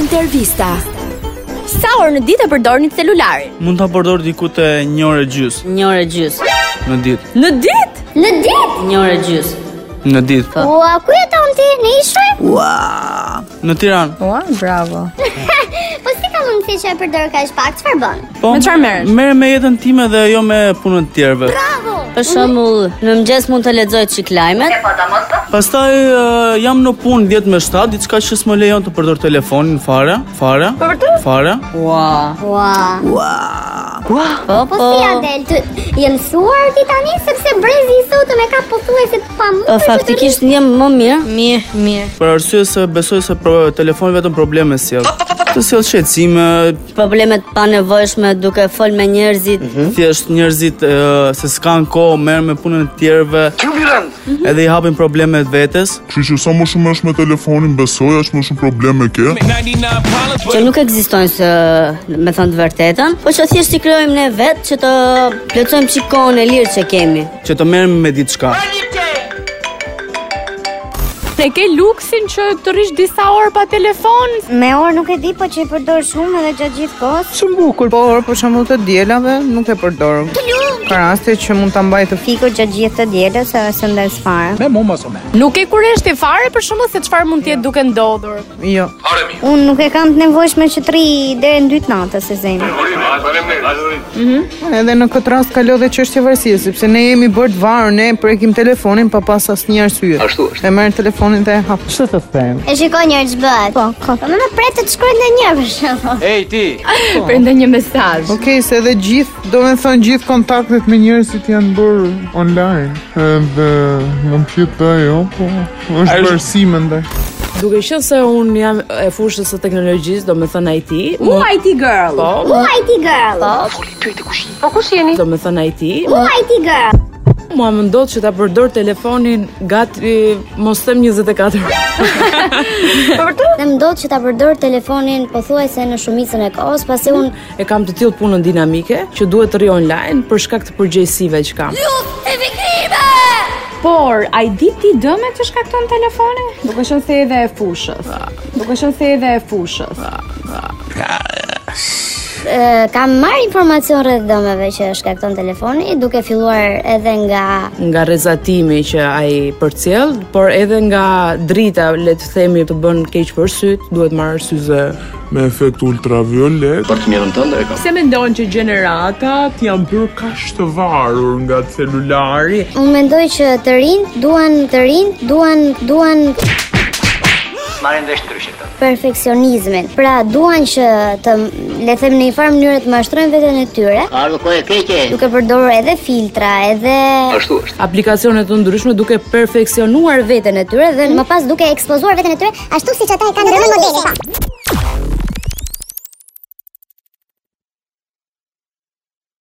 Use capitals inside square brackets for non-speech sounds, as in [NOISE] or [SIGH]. Intervista. Sa orë në ditë e përdorni celularin? Mund ta përdor diku te 1 orë gjys Një orë gjys. në ditë. Në ditë? Në ditë? Një orë gjys. Në ditë. Po. Ua, ku jeton ti? Në Ishrë? Në Tiranë. Ua, bravo. [LAUGHS] Po si ka mundësi që e përdor kaq pak? Çfarë bën? Po. Me çfarë merresh? Pra. Merrem me jetën time dhe jo me punën e tjerëve. Bravo. Për shembull, në mëngjes mund të lexoj çik lajmet, Pastaj eh, jam në punë 10 me 7, diçka që s'më lejon të përdor telefonin fare, fare, Po, fare. Ua. Ua. Po, Po po. si Adel, të je mësuar ti tani sepse brezi i sotëm e ka pothuajse të Po, pamundur. Faktikisht ndjem më mirë. Mirë, mirë. Për arsye se besoj se pro, telefoni vetëm probleme sjell. Po, Të sjell shqetësime, Problemet pa nevojshme duke fol me njerëzit. thjesht njerëzit eh, se s'kan kohë merren me punën e tjerëve. Edhe i hapin problemet vetes. Kështu që sa më shumë është me telefonin, besoj aq më shumë probleme ke. Që nuk ekzistojnë se me thënë të vërtetën, po që thjesht i krijojmë ne vetë që të plotësojmë çik kohën e lirë që kemi. që të merrem me diçka. Se ke luksin që të rish disa orë pa telefon? Me orë nuk e di, po që i përdor shumë edhe gjatë gjithë kohës. Shumë bukur, por për shembull të dielave nuk e përdor. Ka raste që mund ta mbaj të Fikur gjatë gjithë të dielës edhe së ndes fare. Nuk e kureshti fare për shkakun se çfarë mund të jetë duke ndodhur. fi- jo. Unë nuk e kam të nevojshme që të ri deri në 2 të natës e zënë. Edhe në këtë rast ka lodhë çështje varësie, sepse ne jemi bërë të varur, ne prekim telefonin pa pas asnjë arsye. Ashtu është. E merr telefonin dhe e hap. E shikoj njerëz bëhet. Po, po. Po më pret të shkruaj ndonjë për shembull. Për ndonjë mesazh. Okej, se edhe gjithë, domethënë gjithë kontaktet me njerëzit janë bërë online. Edhe jam thjesht ajo, po është varësi mendoj. Duke qenë se unë jam e fushës së teknologjisë, do me thënë IT, U IT girl. po, Ua IT girl. Po, do me thënë IT, Ua IT girl. mua më ndodhë që ta përdor telefonin gati, mos them 24 orë. Dhe më ndodh që ta përdor telefonin pothuajse në shumicën e kohës, pasi unë E kam të tillë punën dinamike, që duhet të ri online për shkak të përgjegjësive që kam. Por, a i di ti dëmet që shkakton telefoni? Duke qenë se edhe e fushës. Ah. Duke qenë se edhe e fushës. e, kam marrë informacion rreth dëmeve që shkakton telefoni, duke filluar edhe nga Nga rrezatimi që ai përcjell, por edhe nga drita, le të themi, të bën keq për syt, duhet marrë syze. Me efekt ultraviolet, Se mendon që gjeneratat janë bërë kash është varur nga celulari. unë mendoj që të rinj duan të rinj duan duan perfeksionizmin. Pra duan që të le të them në një farë mënyrë të mashtrojnë veten e tyre. Duke përdorur edhe filtra, edhe aplikacione të ndryshme duke perfeksionuar veten e tyre dhe më pas duke ekspozuar veten e tyre ashtu siç ata e kanë në modele.